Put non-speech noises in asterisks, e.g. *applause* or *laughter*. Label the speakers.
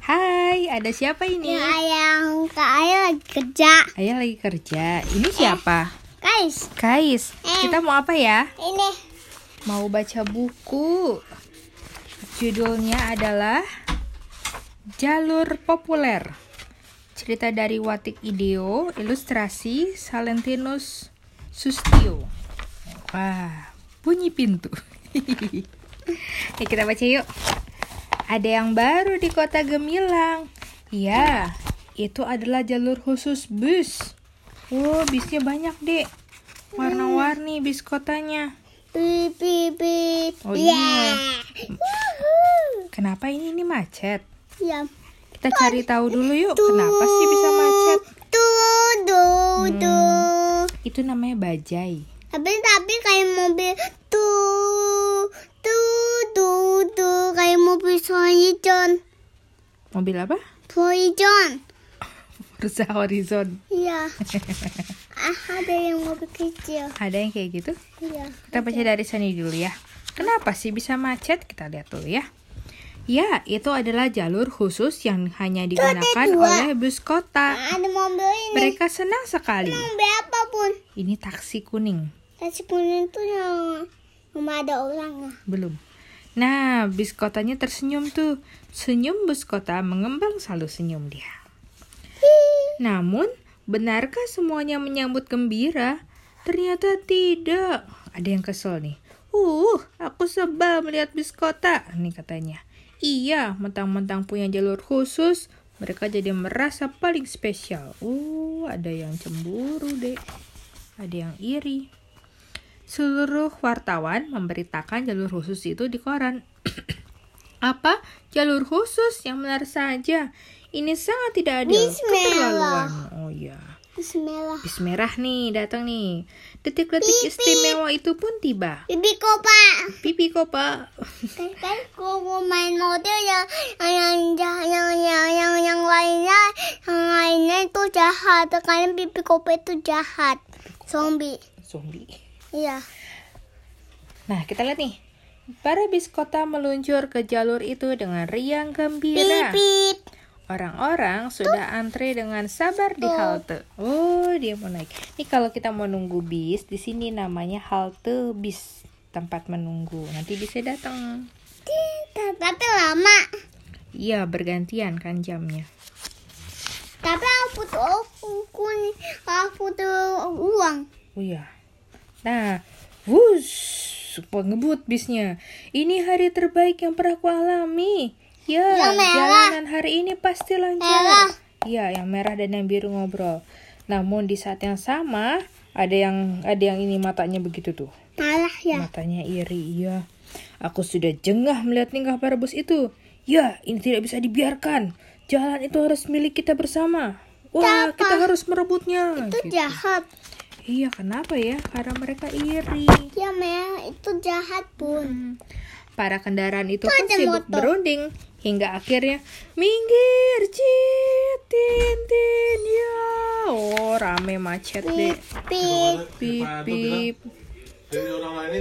Speaker 1: Hai, ada siapa ini?
Speaker 2: Yang ayang Kak Ayu lagi kerja.
Speaker 1: Ayah lagi kerja. Ini siapa?
Speaker 2: Guys,
Speaker 1: Kais. Kita mau apa ya?
Speaker 2: ini
Speaker 1: Mau baca buku. Judulnya adalah Jalur Populer. Cerita dari Watik Ideo, ilustrasi Salentinus Sustio. Wah, bunyi pintu. *laughs* Yuk kita baca yuk. Ada yang baru di kota Gemilang. Ya, itu adalah jalur khusus bus. Wow, bisnya banyak, Dek. Warna-warni bis kotanya.
Speaker 2: pi pi pi.
Speaker 1: Oh,
Speaker 2: Yeah. Woohoo.
Speaker 1: Kenapa ini ini macet?
Speaker 2: Ya.
Speaker 1: Kita cari tahu dulu yuk, Oh, kenapa sih bisa macet? Hmm.
Speaker 2: Tu du du.
Speaker 1: Itu namanya bajai.
Speaker 2: Tapi tapi kayak mobil tu tu du du kayak mobil Horizon.
Speaker 1: Mobil apa? *laughs*
Speaker 2: Horizon.
Speaker 1: Bursa Horizon.
Speaker 2: Iya.
Speaker 1: *laughs*
Speaker 2: ah, ada yang mobil kecil.
Speaker 1: Ada yang kayak gitu?
Speaker 2: Iya.
Speaker 1: Kita baca dari sini dulu ya. Kenapa sih bisa macet? Kita lihat dulu ya. Ya, itu adalah jalur khusus yang hanya digunakan oleh bus kota.
Speaker 2: Ada mobil ini.
Speaker 1: Ah. Mereka senang sekali.
Speaker 2: Mobil apapun.
Speaker 1: Ini taksi kuning.
Speaker 2: Nasi kuning tuh yang rumah ada orang. ya.
Speaker 1: Belum. Nah, bis kotanya tersenyum tuh. Senyum bus kota mengembang selalu senyum dia. Namun, benarkah semuanya menyambut gembira? Ternyata tidak. Ada yang kesel nih. Uh, aku sebel melihat bis kota. Nih katanya. Iya, mentang-mentang punya jalur khusus, mereka jadi merasa paling spesial. Uh, ada yang cemburu deh. Ada yang iri. Seluruh wartawan memberitakan jalur khusus itu di koran. *clears throat* Apa? Jalur khusus yang benar saja. Ini sangat tidak adil.
Speaker 2: Bismillah.
Speaker 1: Keterlaluan. Oh iya.
Speaker 2: Bismillah.
Speaker 1: Bis merah nih, datang nih. Detik-detik istimewa itu pun tiba.
Speaker 2: Bibi Kopa.
Speaker 1: Pipi kok, Pak. *laughs*
Speaker 2: Kan kan gua mau main motor yang yang yang yang yang yang, yang lainnya yang lainnya itu jahat. Karena Bibi Kopa itu jahat. Zombie.
Speaker 1: Zombie.
Speaker 2: Iya.
Speaker 1: Nah, kita lihat nih. Para bis kota meluncur ke jalur itu dengan riang gembira.
Speaker 2: Bibi.
Speaker 1: Orang-orang sudah antre dengan sabar di halte. Oh, dia mau naik. Ini kalau kita mau nunggu bis, di sini namanya halte bis, tempat menunggu. Nanti bisa datang.
Speaker 2: Tapi lama.
Speaker 1: Iya, bergantian kan jamnya.
Speaker 2: Tapi aku butuh aku kuning. Aku butuh uang.
Speaker 1: Oh iya. Nah, wush, pengebut bisnya. Ini hari terbaik yang pernah aku alami. Ya,
Speaker 2: Yang merah.
Speaker 1: jalanan hari ini pasti
Speaker 2: Merah.
Speaker 1: lancar. Iya, yang merah dan yang biru ngobrol. Namun di saat yang sama, ada yang ada yang ini matanya begitu tuh.
Speaker 2: Marah ya.
Speaker 1: Matanya iri, iya. Aku sudah jengah melihat tingkah para bos itu. Ya, ini tidak bisa dibiarkan. Jalan itu harus milik kita bersama. Wah, kita harus merebutnya.
Speaker 2: Itu
Speaker 1: gitu.
Speaker 2: jahat.
Speaker 1: Iya, kenapa ya? Karena mereka iri.
Speaker 2: Ya merah itu jahat pun.
Speaker 1: Para kendaraan itu pun
Speaker 2: ada
Speaker 1: sibuk
Speaker 2: motor.
Speaker 1: berunding hingga akhirnya minggir cit tin tin ya.
Speaker 2: Iya.
Speaker 1: Oh, rame macet deh.
Speaker 2: Pip.
Speaker 1: Pip pip.
Speaker 3: Jadi orang lain